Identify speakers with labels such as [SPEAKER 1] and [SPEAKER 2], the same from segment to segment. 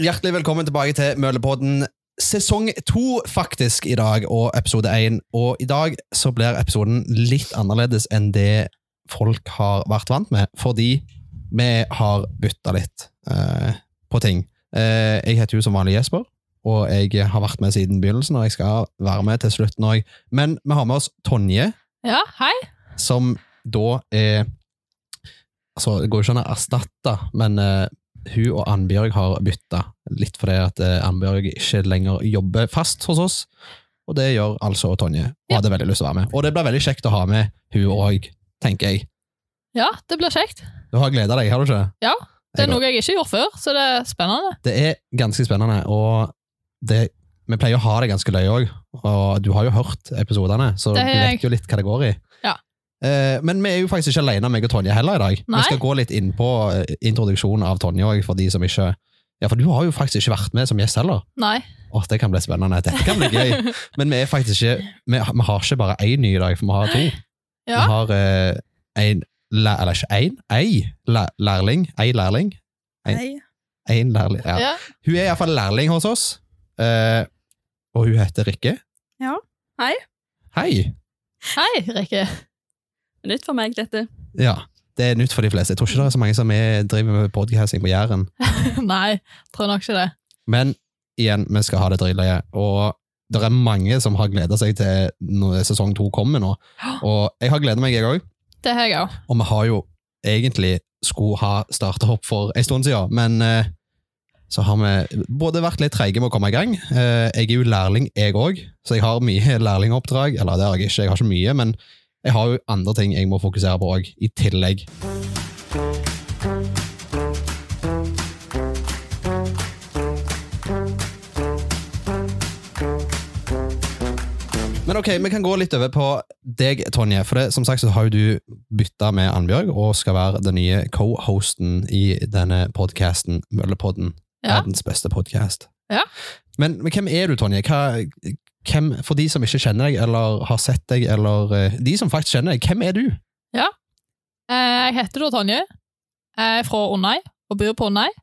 [SPEAKER 1] Hjertelig velkommen tilbake til Mølepodden sesong to, faktisk, i dag, og episode én. Og i dag så blir episoden litt annerledes enn det folk har vært vant med, fordi vi har bytta litt eh, på ting. Eh, jeg heter jo som vanlig Jesper, og jeg har vært med siden begynnelsen, og jeg skal være med til slutten òg. Men vi har med oss Tonje,
[SPEAKER 2] Ja, hei.
[SPEAKER 1] som da er Altså, det går jo ikke an å erstatte, men eh, hun og Annbjørg har bytta. Litt fordi at eh, Annbjørg ikke lenger jobber fast hos oss, og det gjør altså Tonje. Og
[SPEAKER 2] Ja.
[SPEAKER 1] hadde veldig lyst til å være med. Og det blir veldig kjekt å ha med hun òg, tenker jeg.
[SPEAKER 2] Ja, det blir kjekt.
[SPEAKER 1] Du har gleda deg, har du ikke?
[SPEAKER 2] Ja, Det
[SPEAKER 1] Jeg
[SPEAKER 2] er noe jeg ikke gjorde før, så det er spennende.
[SPEAKER 1] Det er ganske spennende, og det, vi pleier å ha det ganske løye òg. Og du har jo hørt episodene, så du
[SPEAKER 2] Det har jeg.
[SPEAKER 1] vet jo litt hva det går i.
[SPEAKER 2] Ja.
[SPEAKER 1] Eh, men vi er jo faktisk ikke alene, meg og Tonje heller i dag.
[SPEAKER 2] Nei.
[SPEAKER 1] Vi skal gå litt inn på eh, introduksjonen av Tonje òg, for de som ikke Ja, for du har jo faktisk ikke vært med som gjest heller.
[SPEAKER 2] Nei.
[SPEAKER 1] Åh, det kan bli spennende. Dette kan bli gøy. Men vi er faktisk ikke Vi, vi har ikke bare én ny i dag, for vi har to.
[SPEAKER 2] Ja.
[SPEAKER 1] Vi har eh, en læ- Eller ikke én, ei læ- lærling. Ei lærling.
[SPEAKER 3] Hei.
[SPEAKER 1] Én lærling. Ja.
[SPEAKER 2] Ja.
[SPEAKER 1] Hun er iallfall lærling hos oss, eh, og hun heter Rikke.
[SPEAKER 3] Ja. Hei.
[SPEAKER 1] Hei!
[SPEAKER 2] Hei, Rikke.
[SPEAKER 3] Nytt for meg, dette.
[SPEAKER 1] Ja, det er nytt for de fleste. Jeg tror ikke det er så mange som er, driver med podcasting på Jæren.
[SPEAKER 2] Nei, tror nok ikke det.
[SPEAKER 1] Men igjen, vi skal ha det drittløye, og det er mange som har gleda seg til når sesong to kommer nå. Og jeg har gleda meg, jeg òg.
[SPEAKER 2] Det har jeg òg.
[SPEAKER 1] Og vi har jo egentlig skulle ha starta opp for en stund siden, men eh, så har vi både vært litt treige med å komme i gang. Eh, jeg er jo lærling, jeg òg, så jeg har mye lærlingoppdrag. Eller det har jeg ikke, jeg har ikke mye, men jeg har jo andre ting jeg må fokusere på òg, i tillegg. Men ok, vi kan gå litt over på deg, Tonje. For det, som sagt så har jo du bytta med Annbjørg, og skal være den nye co-hosten i denne podkasten, Møllepodden.
[SPEAKER 2] Ja.
[SPEAKER 1] Verdens beste podkast.
[SPEAKER 2] Ja.
[SPEAKER 1] Men, men hvem er du, Tonje? Hva, hvem, for de som ikke kjenner deg, eller har sett deg, eller eh, de som faktisk kjenner deg, hvem er du?
[SPEAKER 2] Eh, Jeg heter da Tonje. Jeg er fra Onnøy og bor på Onnøy.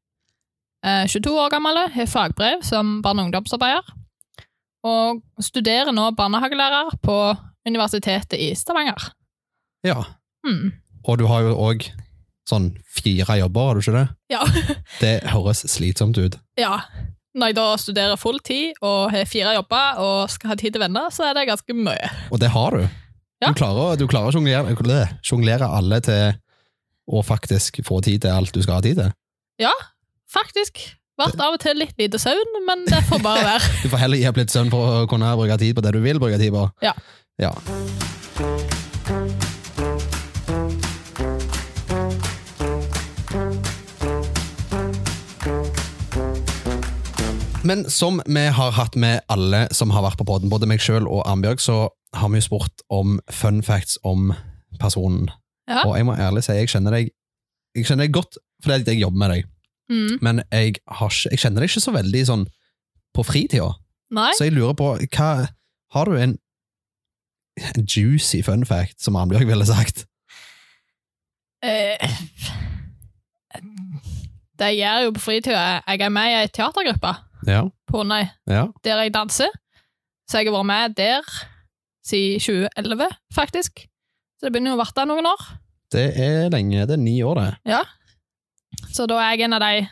[SPEAKER 2] Eh, 22 år gammel, har fagbrev som barne- og ungdomsarbeider. Og studerer nå barnehagelærer på Universitetet i Stavanger.
[SPEAKER 1] Ja.
[SPEAKER 2] Hmm.
[SPEAKER 1] Og du har jo òg sånn fire jobber, har du ikke det?
[SPEAKER 2] Ja.
[SPEAKER 1] Det høres slitsomt ut.
[SPEAKER 2] Ja. Når jeg da studerer full tid og har fire jobber og skal ha tid til venner, så er det ganske mye.
[SPEAKER 1] Og det har du.
[SPEAKER 2] Ja.
[SPEAKER 1] Du klarer, du klarer å jonglere- øh, jonglere alle til å faktisk få tid til alt du skal ha tid til.
[SPEAKER 2] Faktisk. Vært av og til litt lite søvn, men det får bare være.
[SPEAKER 1] Du får heller gi opp litt søvn for å kunne bruke tid på det du vil bruke tid på.
[SPEAKER 2] Ja.
[SPEAKER 1] Ja. Men som vi har hatt med alle som har vært på podden, både meg sjøl og Arnbjørg, så har vi jo spurt om fun facts om personen.
[SPEAKER 2] Ja.
[SPEAKER 1] Og jeg må ærlig si, jeg kjenner deg, jeg kjenner deg godt fordi at jeg jobber med deg,
[SPEAKER 2] Mm.
[SPEAKER 1] men jeg, har ikke, jeg kjenner deg ikke så veldig sånn på fritida.
[SPEAKER 2] Nei.
[SPEAKER 1] Så jeg lurer på, hva, har du en, en juicy fun fact, som Arnbjørg ville sagt?
[SPEAKER 2] Eh, det jeg gjør jo på fritida, er- jeg er med i ei teatergruppe
[SPEAKER 1] Ja.
[SPEAKER 2] på Ånøy,
[SPEAKER 1] Ja.
[SPEAKER 2] der jeg danser. Så jeg har vært med der siden 2011, faktisk. Så det begynner jo å varte noen år.
[SPEAKER 1] Det er lenge, det er ni år det.
[SPEAKER 2] Så da er jeg en av de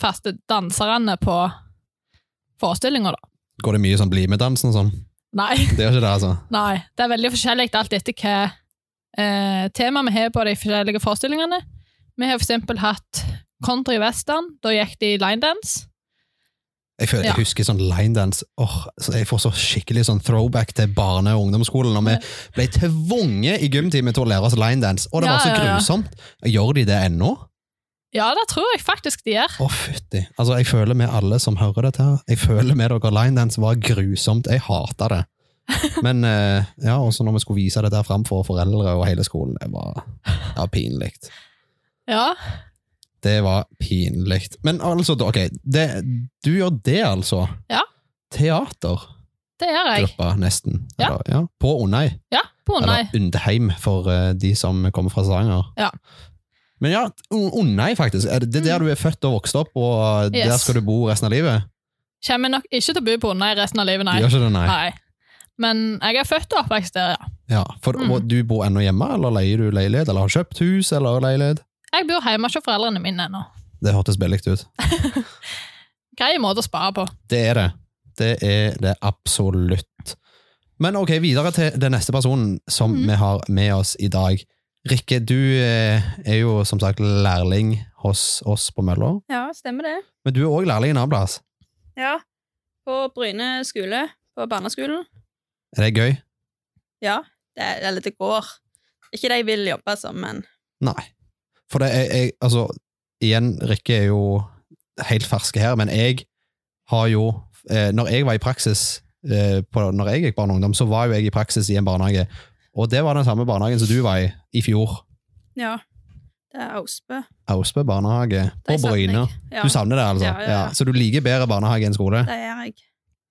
[SPEAKER 2] faste danserne på forestillinga, da.
[SPEAKER 1] Går det mye sånn bli med dansen og sånn?
[SPEAKER 2] Nei.
[SPEAKER 1] Det gjør ikke det, altså.
[SPEAKER 2] Nei, det er veldig forskjellig alt etter hva eh, tema vi har på de forskjellige forestillingene. Vi har for eksempel hatt country western, da gikk de line dance.
[SPEAKER 1] Jeg, føler, jeg
[SPEAKER 2] Ja.
[SPEAKER 1] husker sånn linedance. Åh, så jeg får så skikkelig sånn throwback til barne- og ungdomsskolen. Når vi ble tvunget i gymtimen til å lære oss linedance. Og det
[SPEAKER 2] Ja,
[SPEAKER 1] var så
[SPEAKER 2] ja, ja.
[SPEAKER 1] grusomt. Gjør de det ennå?
[SPEAKER 2] Ja, det tror jeg faktisk de gjør.
[SPEAKER 1] Å, fytti. Altså, jeg føler med alle som hører dette her. Jeg føler med dere linedance var grusomt. Jeg hata det. Men eh, ja, også når vi skulle vise dette her fram for foreldre og hele skolen, det var, det var pinlig.
[SPEAKER 2] Ja.
[SPEAKER 1] Det var pinlig. Men altså, ok, det, du gjør det, altså?
[SPEAKER 2] Ja.
[SPEAKER 1] Teatergruppa,
[SPEAKER 2] Det gjør jeg.
[SPEAKER 1] nesten.
[SPEAKER 2] Ja.
[SPEAKER 1] Eller, ja. På Onei.
[SPEAKER 2] Ja, på Ånøy.
[SPEAKER 1] Eller Undheim, for eh, de som kommer fra Stavanger.
[SPEAKER 2] Ja. Mm.
[SPEAKER 1] Men ja, Onnei, faktisk. Er det- Det er der du er født og vokst opp, og eh, der
[SPEAKER 2] Yes.
[SPEAKER 1] skal du bo resten av livet?
[SPEAKER 2] Kommer nok ikke til å bo på Onnei resten av livet,
[SPEAKER 1] Du
[SPEAKER 2] nei.
[SPEAKER 1] gjør ikke det, nei.
[SPEAKER 2] nei. Men jeg er født og oppvokst der, ja.
[SPEAKER 1] Ja, for,
[SPEAKER 2] Mm.
[SPEAKER 1] Og du bor ennå hjemme, eller leier du leilighet, eller har kjøpt hus, eller leilighet?
[SPEAKER 2] Jeg bor hjemme hos foreldrene mine ennå.
[SPEAKER 1] Det hørtes billig ut.
[SPEAKER 2] Grei måte å spare på.
[SPEAKER 1] Det er det. Det er det absolutt. Men ok, videre til den neste personen som
[SPEAKER 2] Mm.
[SPEAKER 3] Mhm.
[SPEAKER 1] vi har med oss i dag. Rikke, du eh, er jo som sagt lærling hos oss på Møller,
[SPEAKER 3] Ja, stemmer det.
[SPEAKER 1] men du er òg lærling en annen plass.
[SPEAKER 3] Ja. På Bryne skole, på barneskolen.
[SPEAKER 1] Er det gøy?
[SPEAKER 3] Ja, det, eller det går. Ikke det jeg vil jobbe som, men
[SPEAKER 1] Nei. For det er, jeg, altså, igjen, Rikke er jo helt ferske her, men jeg har jo, eh, når jeg var i praksis, eh, på, når jeg gikk barn og ungdom, så var jo jeg i praksis i en barnehage, og det var den samme barnehagen som du var i, i fjor,
[SPEAKER 3] ja. Det er Ausbø.
[SPEAKER 1] Austbø barnehage på
[SPEAKER 3] De savner
[SPEAKER 1] Bryne.
[SPEAKER 3] jeg. Ja,
[SPEAKER 1] Du savner det altså?
[SPEAKER 3] Ja, ja, ja.
[SPEAKER 1] Så du liker bedre barnehage enn skole?
[SPEAKER 3] det gjør jeg.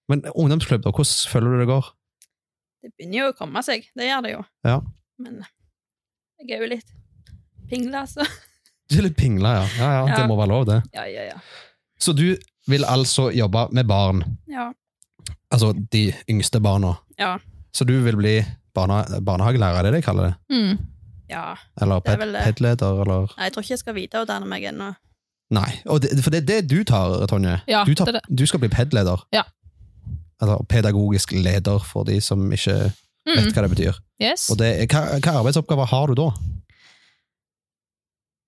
[SPEAKER 1] Men ungdomsklubb, da, hvordan føler du det går?
[SPEAKER 3] Det begynner jo å komme seg, det gjør det jo.
[SPEAKER 1] Ja.
[SPEAKER 3] Men eh, jeg er jo litt pingle, altså.
[SPEAKER 1] Du er litt pingla, ja. Ja, ja. Det
[SPEAKER 3] Ja.
[SPEAKER 1] må være lov, det.
[SPEAKER 3] Ja, ja, ja.
[SPEAKER 1] Så du vil altså jobbe med barn?
[SPEAKER 3] Ja,
[SPEAKER 1] Altså de yngste barna.
[SPEAKER 3] Ja.
[SPEAKER 1] Så du vil bli barne, barnehagelærer, er det det de kaller det?
[SPEAKER 2] Mm.
[SPEAKER 3] ja.
[SPEAKER 1] Eller
[SPEAKER 3] Det er
[SPEAKER 1] ped,
[SPEAKER 3] vel det.
[SPEAKER 1] pedleder, eller
[SPEAKER 3] Nei, jeg tror ikke jeg skal videreutdanne meg ennå.
[SPEAKER 1] Nei, og det, for det er det du tar, Tonje.
[SPEAKER 2] Ja,
[SPEAKER 1] du, tar,
[SPEAKER 2] det er
[SPEAKER 1] du skal bli pedleder.
[SPEAKER 2] Ja.
[SPEAKER 1] Eller pedagogisk leder, for de som ikke vet
[SPEAKER 2] Mm.
[SPEAKER 1] hva det betyr.
[SPEAKER 2] Yes.
[SPEAKER 1] Og det, er- hva, hva arbeidsoppgaver har du da?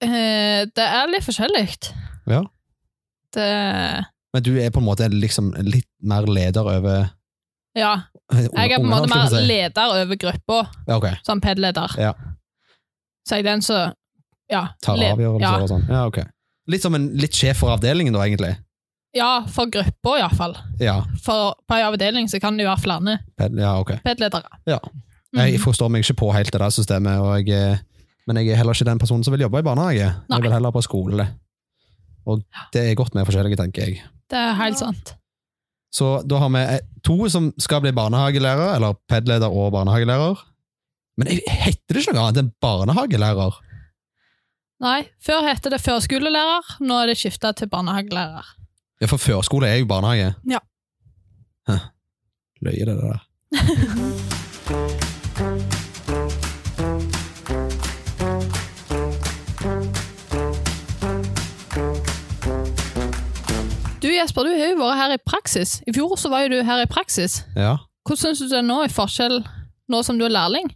[SPEAKER 2] Eh, Det er litt forskjellig.
[SPEAKER 1] Ja.
[SPEAKER 2] Det
[SPEAKER 1] Men du er på en måte liksom litt mer leder over
[SPEAKER 2] Ja. Jeg er på en måte mer leder over gruppa, sånn
[SPEAKER 1] Ja, ok.
[SPEAKER 2] som PED-leder.
[SPEAKER 1] Ja.
[SPEAKER 2] Så jeg er den som ja,
[SPEAKER 1] Tar
[SPEAKER 2] led-
[SPEAKER 1] avgjørelser
[SPEAKER 2] Ja,
[SPEAKER 1] og sånn. Ja, ok. Litt som en litt sjef for avdelingen, da, egentlig.
[SPEAKER 2] ja for gruppa, iallfall.
[SPEAKER 1] Ja,
[SPEAKER 2] For på en avdeling så kan det jo være flere
[SPEAKER 1] ped, ja ok.
[SPEAKER 2] PED-ledere.
[SPEAKER 1] Ja.
[SPEAKER 2] Mm.
[SPEAKER 1] Jeg forstår meg ikke på helt det der systemet, og jeg, eh, men jeg er heller ikke den personen som vil jobbe i barnehage.
[SPEAKER 2] Nei.
[SPEAKER 1] Jeg vil heller på skole. Og det er godt med forskjellige, tenker jeg.
[SPEAKER 2] Det er helt
[SPEAKER 3] Ja.
[SPEAKER 2] sant.
[SPEAKER 1] Så da har vi eh, to som skal bli barnehagelærer, eller pedleder og barnehagelærer. Men jeg- heter det ikke noe annet enn barnehagelærer?
[SPEAKER 2] Nei, før het det førskolelærer, nå er det skifta til barnehagelærer.
[SPEAKER 1] Ja, for førskole er jo barnehage.
[SPEAKER 2] Ja.
[SPEAKER 1] Hæ. Løye det der.
[SPEAKER 2] Du Jesper, du har jo vært her i praksis. I fjor så var jo du her i praksis.
[SPEAKER 1] Ja.
[SPEAKER 2] Hvordan syns du det er nå, i forskjell nå som du er lærling,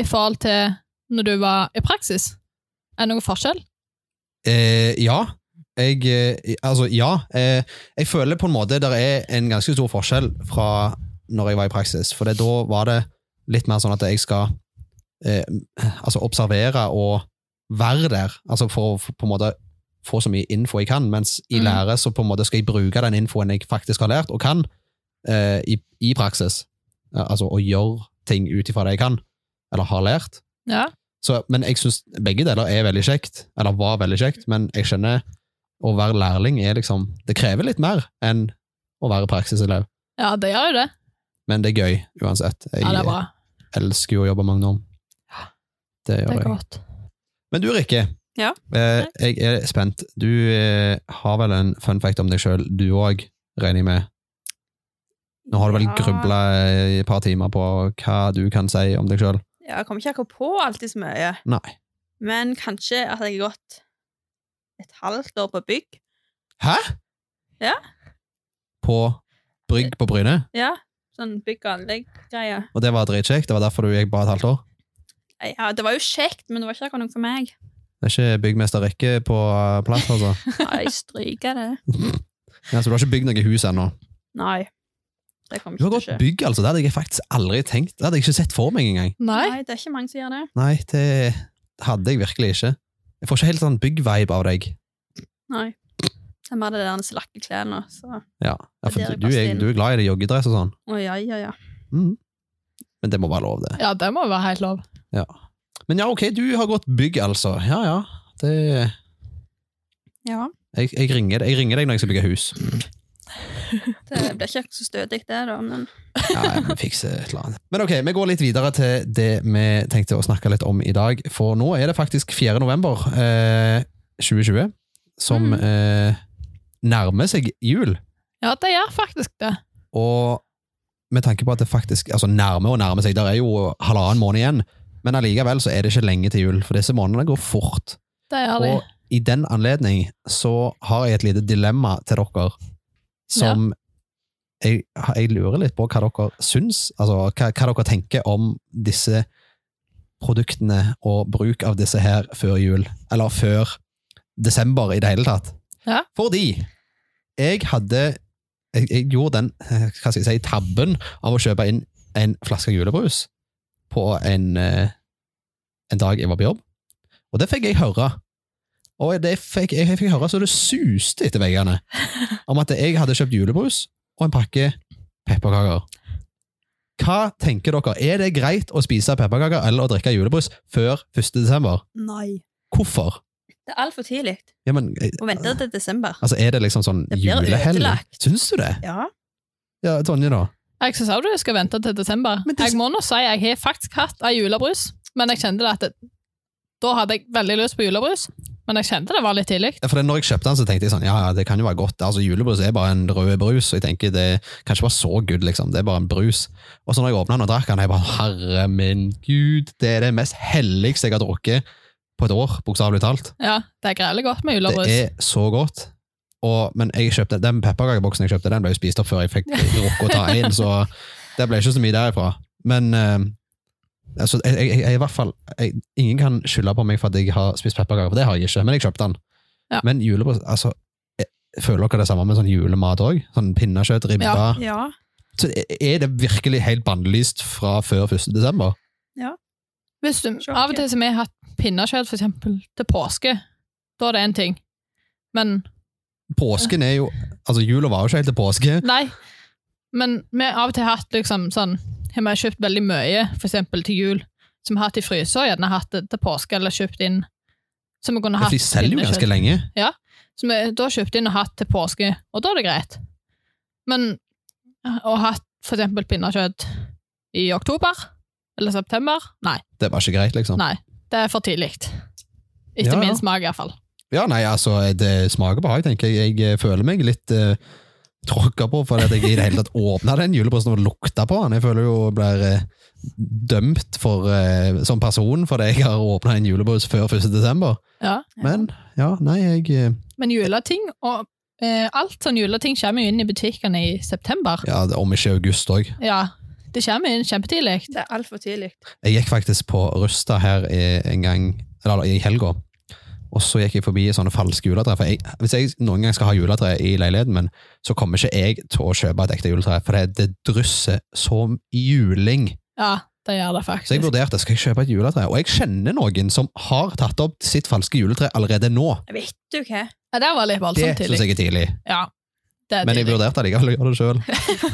[SPEAKER 2] i forhold til når du var i praksis? Er det noen forskjell?
[SPEAKER 1] Eh, ja. Jeg, eh, altså, ja. Eh, jeg føler på en måte det er en ganske stor forskjell fra når jeg var i praksis. For det, da var det litt mer sånn at jeg skal eh, altså observere og være der. Altså for å få- på en måte få så mye info jeg kan. Mens i
[SPEAKER 2] Mm.
[SPEAKER 1] lære så på en måte skal jeg bruke den infoen jeg faktisk har lært og kan, eh, i, i praksis. Ja, Altså å gjøre ting ut ifra det jeg kan, eller har lært.
[SPEAKER 2] Ja.
[SPEAKER 1] Så, men jeg syns begge deler er veldig kjekt, eller var veldig kjekt, men jeg skjønner å være lærling er liksom Det krever litt mer enn å være praksiselev,
[SPEAKER 2] ja, det gjør jo det.
[SPEAKER 1] men det er gøy uansett. Jeg
[SPEAKER 2] Ja, det er bra.
[SPEAKER 1] elsker jo å jobbe med ungdom. Det
[SPEAKER 2] Det
[SPEAKER 1] gjør
[SPEAKER 2] er
[SPEAKER 1] jeg.
[SPEAKER 2] godt.
[SPEAKER 1] Men du, Rikke,
[SPEAKER 3] Ja.
[SPEAKER 1] eh, jeg er spent. Du eh, har vel en fun fact om deg sjøl, du òg, regner jeg med? Nå har du vel
[SPEAKER 3] Ja.
[SPEAKER 1] grubla i et par timer på hva du kan si om deg sjøl?
[SPEAKER 3] Ja, jeg kommer ikke akkurat på alltid så mye.
[SPEAKER 1] Nei.
[SPEAKER 3] Men kanskje at jeg har gått et halvt år på bygg.
[SPEAKER 1] Hæ?!
[SPEAKER 3] Ja.
[SPEAKER 1] På Brygg på Bryne?
[SPEAKER 3] Ja, sånn bygg- og anlegg-greie.
[SPEAKER 1] Og det var dritkjekt. Det var derfor du gikk bare et halvt år.
[SPEAKER 3] Ja, det var jo kjekt, men det var ikke akkurat noe for meg.
[SPEAKER 1] Det er ikke byggmester Rikke på eh, plass, altså.
[SPEAKER 3] Nei, jeg stryker det.
[SPEAKER 1] Ja, så du har ikke bygd noe hus ennå?
[SPEAKER 3] Nei, det kommer
[SPEAKER 1] Du har
[SPEAKER 3] ikke til å
[SPEAKER 1] gått
[SPEAKER 3] skje.
[SPEAKER 1] bygg, altså. Det hadde jeg faktisk aldri tenkt. Det hadde jeg ikke sett for meg engang.
[SPEAKER 2] Nei?
[SPEAKER 3] Nei, det er ikke mange som gjør det.
[SPEAKER 1] Nei, det hadde jeg virkelig ikke. Jeg får ikke helt sånn bygg-vibe av deg.
[SPEAKER 3] Nei. Det er mer det der slakke klærne, så...
[SPEAKER 1] Ja, ja
[SPEAKER 3] Det er
[SPEAKER 1] for
[SPEAKER 3] det
[SPEAKER 1] du er,
[SPEAKER 3] passer inn.
[SPEAKER 1] du er glad i det joggedress og sånn.
[SPEAKER 3] Å, ja, ja, ja.
[SPEAKER 1] Mm. Men det må være lov, det.
[SPEAKER 2] Ja, det må jo være helt lov.
[SPEAKER 1] Men ja, ok, du har gått bygg, altså. Ja, ja. Det
[SPEAKER 3] Ja.
[SPEAKER 1] Jeg, jeg, ringer, jeg ringer deg når jeg skal bygge hus.
[SPEAKER 3] Det blir ikke så stødig, det, da, men
[SPEAKER 1] Ja, jeg må fikse et eller annet. Men ok, vi går litt videre til det vi tenkte å snakke litt om i dag. For nå er det faktisk 4. november eh, 2020 som
[SPEAKER 2] Mm.
[SPEAKER 1] eh, nærmer seg jul.
[SPEAKER 2] Ja, det gjør faktisk det.
[SPEAKER 1] Og med tanke på at det faktisk altså nærmer og nærmer seg, der er jo halvannen måned igjen, men allikevel så er det ikke lenge til jul, for disse månedene går fort.
[SPEAKER 2] Det gjør de.
[SPEAKER 1] Og i den anledning så har jeg et lite dilemma til dere som jeg, jeg lurer litt på hva dere syns, altså hva, hva dere tenker om disse produktene og bruk av disse her før jul, eller før desember i det hele tatt.
[SPEAKER 2] Ja.
[SPEAKER 1] Fordi jeg hadde jeg, jeg gjorde den hva skal jeg si, tabben av å kjøpe inn en flaske julebrus på en, eh, en dag jeg var på jobb. Og det fikk jeg høre. Og det fikk, jeg fikk høre så det suste etter veggene om at jeg hadde kjøpt julebrus og en pakke pepperkaker. Hva tenker dere? Er det greit å spise pepperkaker eller å drikke julebrus før 1. desember?
[SPEAKER 3] nei.
[SPEAKER 1] Hvorfor?
[SPEAKER 3] Det er altfor tidlig
[SPEAKER 1] Ja, men, eh,
[SPEAKER 3] å vente til desember.
[SPEAKER 1] altså, er det liksom sånn
[SPEAKER 3] Det blir
[SPEAKER 1] julehell?
[SPEAKER 3] ødelagt.
[SPEAKER 1] Syns du det?
[SPEAKER 3] Ja.
[SPEAKER 1] Ja, Tonje, da?
[SPEAKER 2] Jeg syns også du skal vente til desember.
[SPEAKER 1] Men det-
[SPEAKER 2] Jeg må nå si jeg har faktisk hatt ei julebrus, men jeg kjente det at det, da hadde jeg veldig lyst på julebrus, men jeg kjente det var litt tidlig.
[SPEAKER 1] Ja, For det- når jeg kjøpte den, så tenkte jeg sånn, ja, ja, det kan jo være godt. Altså, Julebrus er bare en rød brus, og jeg tenker det kan ikke være så good, liksom. Det er bare en brus. Og så når jeg åpna den og drakk den, jeg bare, herre min gud, det er det mest helligste jeg har drukket på et år, bokstavelig talt.
[SPEAKER 2] Ja, det er greit godt med
[SPEAKER 1] Det
[SPEAKER 2] julebrus.
[SPEAKER 1] er så godt. Og, men jeg kjøpte, den pepperkakeboksen jeg kjøpte, den ble jo spist opp før jeg fikk rukket å ta inn, så det ble ikke så mye derifra. Men eh, altså, jeg, jeg, jeg, jeg, i hvert fall, jeg, ingen kan skylde på meg for at jeg har spist pepperkaker, for det har jeg ikke, men jeg kjøpte den.
[SPEAKER 2] Ja.
[SPEAKER 1] Men julebrus, altså, jeg, føler dere det samme med sånn julemat òg? Sånn pinnekjøtt, ribba?
[SPEAKER 2] Ja.
[SPEAKER 3] Ja.
[SPEAKER 1] Så er det virkelig helt bannlyst fra før 1. desember?
[SPEAKER 2] Hvis du,
[SPEAKER 3] Sjokke.
[SPEAKER 2] av og til som jeg har hatt pinnekjøtt for eksempel til påske, da er det en ting. Men
[SPEAKER 1] Påsken er jo Altså, jula var jo ikke helt til påske.
[SPEAKER 2] nei. Men vi har av og til hatt liksom sånn Har vi kjøpt veldig mye, for eksempel til jul, som vi har hatt i fryser, og gjerne hatt det til påske, eller kjøpt inn som vi kunne
[SPEAKER 1] For
[SPEAKER 2] hatt
[SPEAKER 1] de selger jo
[SPEAKER 2] pinnekjøtt.
[SPEAKER 1] ganske lenge.
[SPEAKER 2] som jeg da kjøpte inn og hatt til påske, og da er det greit. Men å ha hatt for eksempel pinnekjøtt i oktober eller september, nei,
[SPEAKER 1] Det var ikke greit, liksom.
[SPEAKER 2] Nei. det er for tidlig. Etter
[SPEAKER 1] Ja, ja.
[SPEAKER 2] min smak, iallfall.
[SPEAKER 1] Ja, nei, altså, det smaker behag, tenker jeg. Jeg eh, føler meg litt uh, tråkka på fordi at jeg i det hele tatt åpna den juleposten og lukta på den. Jeg føler jo jeg blir eh, dømt for, eh, som person fordi jeg har åpna en julebrus før 1. desember.
[SPEAKER 2] Ja.
[SPEAKER 1] Men ja, nei, jeg eh,
[SPEAKER 2] Men juleting og eh, alt sånn juleting kommer jo inn i butikkene i september.
[SPEAKER 1] Ja, det- om ikke august òg.
[SPEAKER 2] Ja, det kommer inn kjempetidlig.
[SPEAKER 3] Det er altfor tidlig.
[SPEAKER 1] Jeg gikk faktisk på Rusta her i- en gang, eller i helga. Og så gikk jeg forbi sånne falske juletre. For jeg, hvis jeg noen gang skal ha juletre i leiligheten min, så kommer ikke jeg til å kjøpe et ekte juletre, for det, det drysser som juling.
[SPEAKER 2] Ja, det gjør det
[SPEAKER 1] Så jeg
[SPEAKER 2] faktisk.
[SPEAKER 1] vurderte skal jeg kjøpe et juletre, og jeg kjenner noen som har tatt opp sitt falske juletre allerede nå.
[SPEAKER 3] Vet du hva?
[SPEAKER 2] Ja, det var litt
[SPEAKER 1] Det syns
[SPEAKER 2] voldsomt tidlig.
[SPEAKER 1] jeg er tidlig,
[SPEAKER 2] Ja, det er
[SPEAKER 1] men jeg
[SPEAKER 2] tidlig.
[SPEAKER 1] vurderte likevel å gjøre det sjøl.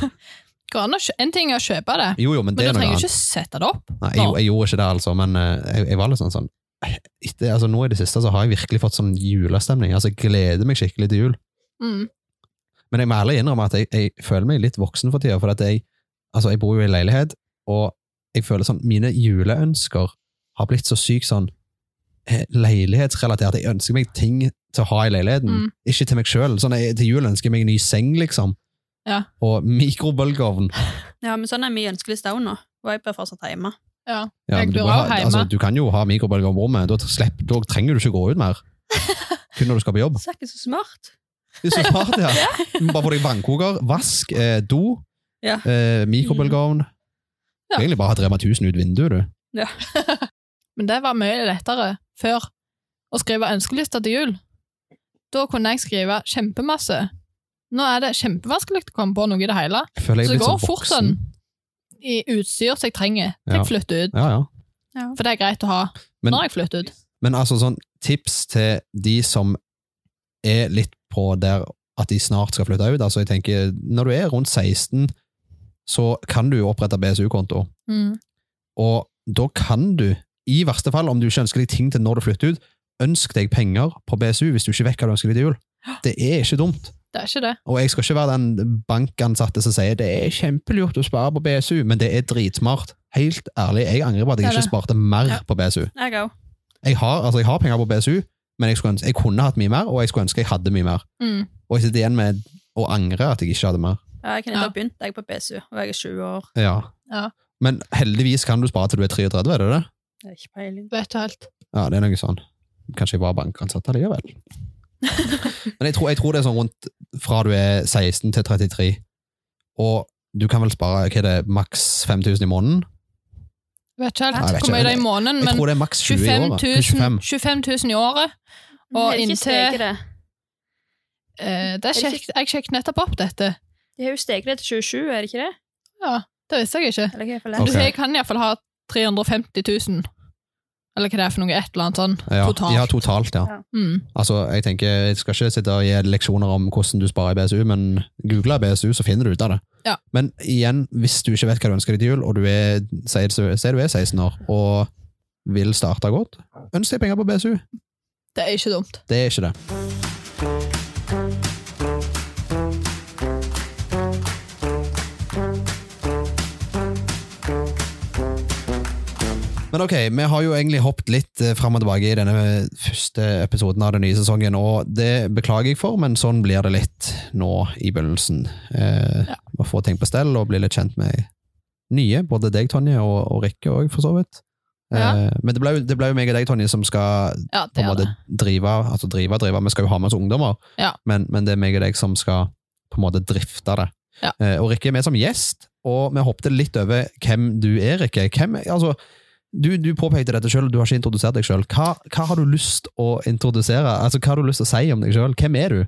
[SPEAKER 2] Går an å kjø- En ting er å kjøpe det,
[SPEAKER 1] Jo, jo, men
[SPEAKER 2] men
[SPEAKER 1] det
[SPEAKER 2] du
[SPEAKER 1] er noe
[SPEAKER 2] trenger
[SPEAKER 1] annet.
[SPEAKER 2] ikke sette det opp.
[SPEAKER 1] Nei, jeg, jeg gjorde ikke det, altså, men eh, jeg, jeg var litt sånn sånn etter, altså, Nå i det siste så har jeg virkelig fått sånn julestemning. Altså, jeg gleder meg skikkelig til jul.
[SPEAKER 2] Mm.
[SPEAKER 1] Men jeg må ærlig innrømme at jeg, jeg føler meg litt voksen for tida, for at jeg, altså jeg bor jo i leilighet, og jeg føler sånn, mine juleønsker har blitt så sykt sånn eh, leilighetsrelatert. Jeg ønsker meg ting til å ha i leiligheten,
[SPEAKER 2] Mm.
[SPEAKER 1] ikke til meg sjøl. Sånn, jeg- til jul ønsker jeg meg en ny seng, liksom.
[SPEAKER 2] Ja.
[SPEAKER 1] Og mikrobølgeovn.
[SPEAKER 3] Ja, men sånn er min ønskeliste òg nå. Og jeg blir fortsatt hjemme.
[SPEAKER 1] Ja,
[SPEAKER 2] Jeg
[SPEAKER 1] men du,
[SPEAKER 2] bor
[SPEAKER 1] må ha,
[SPEAKER 2] også hjemme.
[SPEAKER 1] altså, du kan jo ha mikrobølgeovn på rommet, da, slipp, da trenger du ikke gå ut mer. Kun når du skal på jobb.
[SPEAKER 3] Så er ikke så smart.
[SPEAKER 1] Det er så smart, ja. Du må bare få deg vannkoker, vask, eh, do,
[SPEAKER 3] Ja.
[SPEAKER 1] eh, mikrobølgeovn.
[SPEAKER 2] Mm. Ja.
[SPEAKER 1] Egentlig bare ha Rema 1000 ut vinduet, du.
[SPEAKER 2] Men det var mye lettere før å skrive ønskelister til jul. Da kunne jeg skrive kjempemasse. Nå er det kjempevanskelig å komme på noe i det hele.
[SPEAKER 1] Jeg føler jeg
[SPEAKER 2] Så
[SPEAKER 1] er
[SPEAKER 2] det
[SPEAKER 1] blitt
[SPEAKER 2] går
[SPEAKER 1] så
[SPEAKER 2] fort
[SPEAKER 1] liksom voksen.
[SPEAKER 2] sånn i utstyr som jeg trenger til
[SPEAKER 1] Ja.
[SPEAKER 2] jeg flytter ut.
[SPEAKER 1] Ja, ja.
[SPEAKER 2] For det er greit å ha
[SPEAKER 1] Men-
[SPEAKER 2] når jeg flytter ut.
[SPEAKER 1] Men altså sånn tips til de som er litt på der at de snart skal flytte ut. Altså jeg tenker, når du er rundt 16, så kan du jo opprette BSU-konto.
[SPEAKER 2] Mm.
[SPEAKER 1] Og da kan du, i verste fall, om du ikke ønsker deg ting til når du flytter ut, ønsk deg penger på BSU hvis du ikke vet hva du ønsker deg til jul. Det er ikke dumt.
[SPEAKER 2] Det er ikke det.
[SPEAKER 1] Og jeg skal ikke være den bankansatte som sier det er kjempelurt å spare på BSU, men det er dritsmart. Helt ærlig, jeg angrer på at jeg
[SPEAKER 2] Det er
[SPEAKER 1] ikke
[SPEAKER 2] det.
[SPEAKER 1] sparte mer
[SPEAKER 3] Ja.
[SPEAKER 1] på BSU.
[SPEAKER 3] Jeg òg.
[SPEAKER 1] Jeg har, altså, jeg har penger på BSU, men jeg, skulle ønske, jeg kunne hatt mye mer, og jeg skulle ønske jeg hadde mye mer.
[SPEAKER 2] Mm.
[SPEAKER 1] Og jeg sitter igjen med å angre at jeg ikke hadde mer.
[SPEAKER 3] Ja, jeg kunne ikke
[SPEAKER 2] Ja.
[SPEAKER 3] ha begynt jeg på BSU, og jeg er 20 år.
[SPEAKER 1] Ja.
[SPEAKER 2] Ja.
[SPEAKER 1] Men heldigvis kan du spare til du er 33, er det det?
[SPEAKER 3] Det er ikke peiling.
[SPEAKER 2] Vet ikke helt.
[SPEAKER 1] Ja, det er noe sånn. Kanskje jeg var bankansatt allikevel. Men jeg tror, jeg tror det er sånn rundt fra du er 16 til 33, og du kan vel spare hva er det, maks 5000 i måneden?
[SPEAKER 2] Vet ikke
[SPEAKER 1] Nei, jeg
[SPEAKER 2] helt
[SPEAKER 1] vet
[SPEAKER 2] hvor mye
[SPEAKER 1] ikke.
[SPEAKER 2] det er i måneden,
[SPEAKER 1] Jeg
[SPEAKER 2] men
[SPEAKER 1] tror det er maks 20 i
[SPEAKER 2] 25
[SPEAKER 1] året.
[SPEAKER 2] 000,
[SPEAKER 1] 25.
[SPEAKER 2] 25 000 i året. Og
[SPEAKER 3] Men er det ikke
[SPEAKER 2] inntil-
[SPEAKER 3] steget det?
[SPEAKER 2] Eh, det er
[SPEAKER 3] det
[SPEAKER 2] sjekk, jeg sjekket nettopp opp dette.
[SPEAKER 3] De har jo steget det til 27, er det ikke det?
[SPEAKER 2] Det visste jeg ikke.
[SPEAKER 3] Eller hva er det for
[SPEAKER 1] Ok.
[SPEAKER 3] lenge?
[SPEAKER 2] Så jeg kan iallfall ha 350 000. Eller hva det er for noe, et eller annet sånn
[SPEAKER 1] Ja,
[SPEAKER 2] totalt.
[SPEAKER 1] ja, totalt. Ja.
[SPEAKER 2] Mm.
[SPEAKER 1] Altså, jeg tenker, jeg skal ikke sitte og gi leksjoner om hvordan du sparer i BSU, men google BSU, så finner du ut av det.
[SPEAKER 2] Ja.
[SPEAKER 1] Men igjen, hvis du ikke vet hva du ønsker deg til jul, og du er, sier, sier du er 16 år, og vil starte godt, ønsk deg penger på BSU.
[SPEAKER 2] Det er ikke dumt.
[SPEAKER 1] Det er ikke det. Men ok, vi har jo egentlig hoppet litt eh, fram og tilbake i denne første episoden av den nye sesongen, og det beklager jeg for, men sånn blir det litt nå i begynnelsen. Eh,
[SPEAKER 2] Ja.
[SPEAKER 1] Å få ting på stell og bli litt kjent med nye, både deg, Tonje, og, og Rikke òg, for så vidt. Eh,
[SPEAKER 2] Ja.
[SPEAKER 1] Men det ble, jo- det ble jo meg og deg, Tonje, som skal
[SPEAKER 2] Ja,
[SPEAKER 1] på
[SPEAKER 2] det
[SPEAKER 1] en
[SPEAKER 2] er det.
[SPEAKER 1] måte drive, altså drive, drive. Vi skal jo ha med oss ungdommer,
[SPEAKER 2] Ja.
[SPEAKER 1] men, men det er meg og deg som skal på en måte drifte det.
[SPEAKER 2] Ja.
[SPEAKER 1] Eh, og Rikke er med som gjest, og vi hoppet litt over hvem du er, Rikke. Hvem, altså, du, du påpekte dette selv, du har ikke introdusert deg selv. Hva, hva har du lyst å introdusere? Altså, hva har du lyst til å si om deg selv? Hvem er du?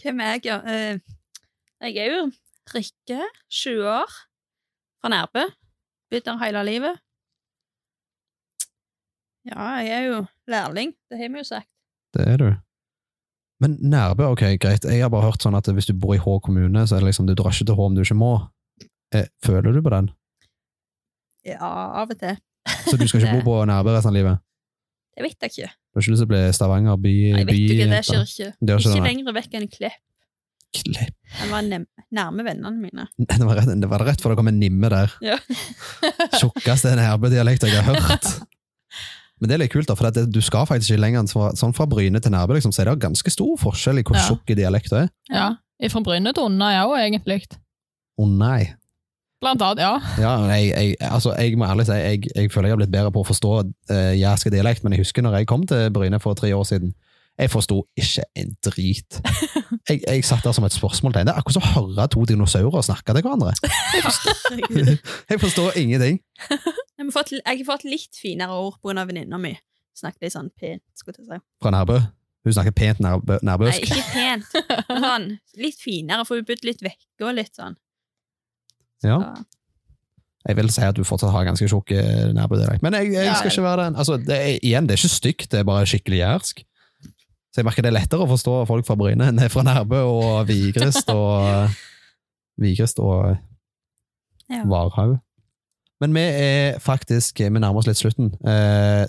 [SPEAKER 3] Hvem er jeg, ja? Eh, Jeg er jo Rikke, 20 år, fra Nærbø. Blitt der hele livet. Ja, jeg er jo lærling, det har vi jo sagt.
[SPEAKER 1] Det er du. Men Nærbø, ok, greit. Jeg har bare hørt sånn at hvis du bor i Hå kommune, så er det liksom du drar ikke til Hå om du ikke må. Eh, føler du på den?
[SPEAKER 3] Ja, av og til.
[SPEAKER 1] Så du skal ikke bo på Nærbø resten av livet?
[SPEAKER 3] Det vet jeg ikke.
[SPEAKER 1] Du har ikke lyst til å bli Stavanger by?
[SPEAKER 3] Jeg vet ikke, det
[SPEAKER 1] byjente?
[SPEAKER 3] skjer ikke.
[SPEAKER 1] Det gjør
[SPEAKER 3] Ikke
[SPEAKER 1] ikke det,
[SPEAKER 3] lenger vekk enn Klepp.
[SPEAKER 1] nei.
[SPEAKER 3] Jeg var nem- nærme vennene mine.
[SPEAKER 1] Det var, rett, det var rett før det kom en nimme der.
[SPEAKER 3] Ja.
[SPEAKER 1] Tjukkeste nærbødialekt jeg har hørt. Men det er litt kult, da, for at det, du skal faktisk ikke lenger enn fra, sånn fra Bryne til Nærbø, liksom, så er det ganske stor forskjell i hvor
[SPEAKER 2] Ja.
[SPEAKER 1] tjukk dialekten er.
[SPEAKER 2] Ja. Fra Bryne til Unna, ja, også, egentlig.
[SPEAKER 1] Å nei.
[SPEAKER 2] Blant annet, ja.
[SPEAKER 1] Ja, men jeg, jeg, altså, jeg må ærlig si, jeg, jeg føler jeg har blitt bedre på å forstå uh, jærske dialekt, men jeg husker når jeg kom til Bryne for tre år siden, jeg forsto ikke en drit. Jeg, jeg satt der som et spørsmålstegn. Det er akkurat som å høre to dinosaurer snakke til hverandre.
[SPEAKER 3] Herregud.
[SPEAKER 1] Jeg forstår ingenting.
[SPEAKER 3] Jeg har fått, jeg har fått litt finere ord på grunn av venninna mi. Snakket litt sånn pent, skulle jeg til å si.
[SPEAKER 1] fra Nærbø. Hun snakker pent nærbø,
[SPEAKER 3] Nei,
[SPEAKER 1] nærbøsk.
[SPEAKER 3] ikke pent. men Sånn, litt finere, for hun bodde litt vekke og litt sånn.
[SPEAKER 1] Ja.
[SPEAKER 3] Så,
[SPEAKER 1] Jeg vil si at du fortsatt har ganske tjukk eh, nærbødialekt. Men jeg, jeg
[SPEAKER 2] Ja,
[SPEAKER 1] skal
[SPEAKER 2] ja.
[SPEAKER 1] ikke være den. Altså, det er, igjen, det er ikke stygt, det er bare skikkelig jærsk. Så jeg merker det er lettere å forstå folk fra Bryne enn det er fra Nærbø og Vigrest og Vigrest og
[SPEAKER 3] Ja.
[SPEAKER 1] Varhaug. Men vi er faktisk Vi nærmer oss litt slutten. Eh,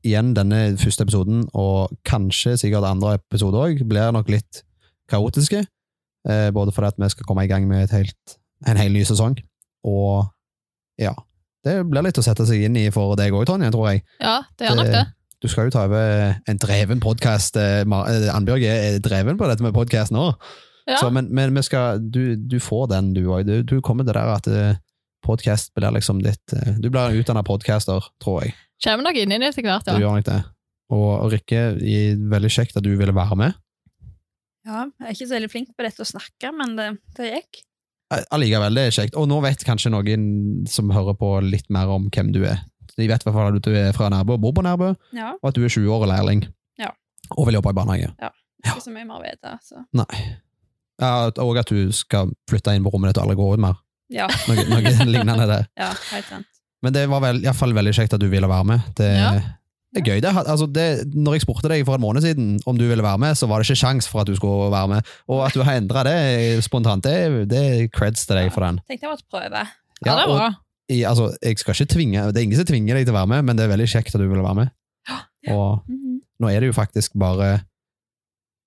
[SPEAKER 1] igjen denne første episoden, og kanskje sikkert andre episoder òg, blir nok litt kaotiske. Eh, både fordi at vi skal komme i gang med et helt, en hel ny sesong, og ja Det blir litt å sette seg inn i for deg òg, Tonje, tror jeg. Eh,
[SPEAKER 2] Ja, det gjør nok det.
[SPEAKER 1] Du skal jo ta over en dreven podkast. eh, Annbjørg er er dreven på dette med podkast nå.
[SPEAKER 2] Ja.
[SPEAKER 1] Så, men men vi skal, du, du får den, du òg. Du, du kommer til der at eh, podcast blir liksom ditt eh, Du blir en utdanna podcaster, tror jeg.
[SPEAKER 2] Kommer nok inn i det etter hvert,
[SPEAKER 1] Du
[SPEAKER 2] ja.
[SPEAKER 1] gjør nok det. Og, og Rikke, i- veldig kjekt at du ville være med.
[SPEAKER 3] ja, jeg er ikke så veldig flink på dette å snakke, men det, det gikk.
[SPEAKER 1] Eh, Allikevel, det er kjekt. Og nå vet kanskje noen som hører på, litt mer om hvem du er. De vet i hvert fall at du er fra Nærbø og bor på Nærbø,
[SPEAKER 3] Ja,
[SPEAKER 1] og at du er 20 år og lærling.
[SPEAKER 3] Ja.
[SPEAKER 1] Og vil jobbe i barnehage.
[SPEAKER 3] ikke så mye mer å vite. Så.
[SPEAKER 1] Nei. Ja, og at du skal flytte inn på rommet ditt og aldri gå ut mer.
[SPEAKER 3] Ja,
[SPEAKER 1] Noe, noe lignende der.
[SPEAKER 3] ja, helt sant.
[SPEAKER 1] Men det var vel, i hvert fall veldig kjekt at du ville være med. Det,
[SPEAKER 2] Ja.
[SPEAKER 1] det er gøy. Det, har- altså det, når jeg spurte deg for en måned siden om du ville være med, så var det ikke sjans for at du skulle være med. Og at du har endra det spontant, det, det er creds til deg for den.
[SPEAKER 3] Tenkte jeg måtte prøve.
[SPEAKER 2] Ja, det er
[SPEAKER 1] og,
[SPEAKER 2] bra.
[SPEAKER 1] i, altså, jeg skal ikke tvinge, det er ingen som tvinger deg til å være med, men det er veldig kjekt at du ville være med. Og
[SPEAKER 3] Mhm.
[SPEAKER 1] nå er det jo faktisk bare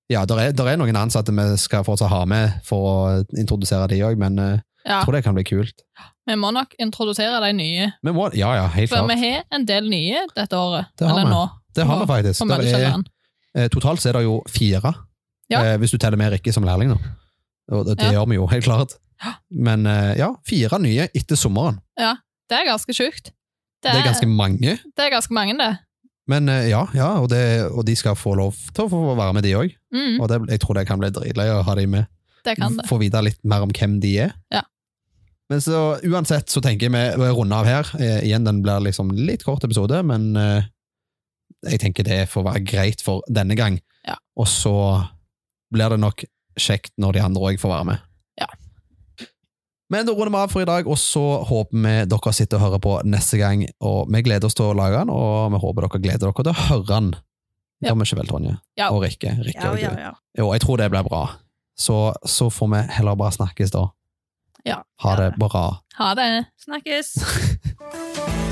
[SPEAKER 1] Ja, der er, der er noen ansatte vi skal fortsatt ha med for å introdusere de òg, men eh,
[SPEAKER 2] Ja,
[SPEAKER 1] jeg tror det kan bli kult.
[SPEAKER 2] Vi må nok introdusere de nye,
[SPEAKER 1] Men må, ja, ja, helt
[SPEAKER 2] for
[SPEAKER 1] klart.
[SPEAKER 2] vi har en del nye dette året.
[SPEAKER 1] Det har
[SPEAKER 2] eller
[SPEAKER 1] vi.
[SPEAKER 2] nå.
[SPEAKER 1] Det har vi
[SPEAKER 2] på
[SPEAKER 1] faktisk. Der er,
[SPEAKER 2] Møllekjelleren.
[SPEAKER 1] eh, totalt så er det jo fire,
[SPEAKER 2] Ja.
[SPEAKER 1] eh, hvis du teller med Rikke som lærling nå. Og det, det
[SPEAKER 2] Ja.
[SPEAKER 1] gjør vi jo, helt klart. Men eh, ja, fire nye etter sommeren.
[SPEAKER 2] Det er ganske sjukt.
[SPEAKER 1] Det er ganske mange.
[SPEAKER 2] det er ganske mange, det.
[SPEAKER 1] Men eh, ja, ja og, det, og de skal få lov til å få være med, de òg.
[SPEAKER 2] Mm,
[SPEAKER 1] Og det, jeg tror det kan bli dritløye å ha de med.
[SPEAKER 2] det kan det.
[SPEAKER 1] Få vite litt mer om hvem de er.
[SPEAKER 2] Ja.
[SPEAKER 1] Men så uansett så tenker jeg vi vi runder av her. Eh, igjen, den blir liksom litt kort episode, men eh, jeg tenker det får være greit for denne gang.
[SPEAKER 2] Ja.
[SPEAKER 1] Og så blir det nok kjekt når de andre òg får være med.
[SPEAKER 2] Ja.
[SPEAKER 1] Men da runder vi av for i dag, og så håper vi dere sitter og hører på neste gang. Og vi gleder oss til å lage den, og vi håper dere gleder dere til å høre den. Det
[SPEAKER 2] Ja.
[SPEAKER 1] gjør vi ikke vel, Tonje?
[SPEAKER 2] Ja.
[SPEAKER 1] Og Rikke. Rikke
[SPEAKER 3] Ja,
[SPEAKER 1] og du.
[SPEAKER 3] ja, ja.
[SPEAKER 1] Jo, jeg tror det blir bra. Så, så får vi heller bare snakkes da.
[SPEAKER 2] Ja.
[SPEAKER 1] Ha det bra.
[SPEAKER 2] Ha det.
[SPEAKER 3] Snakkes!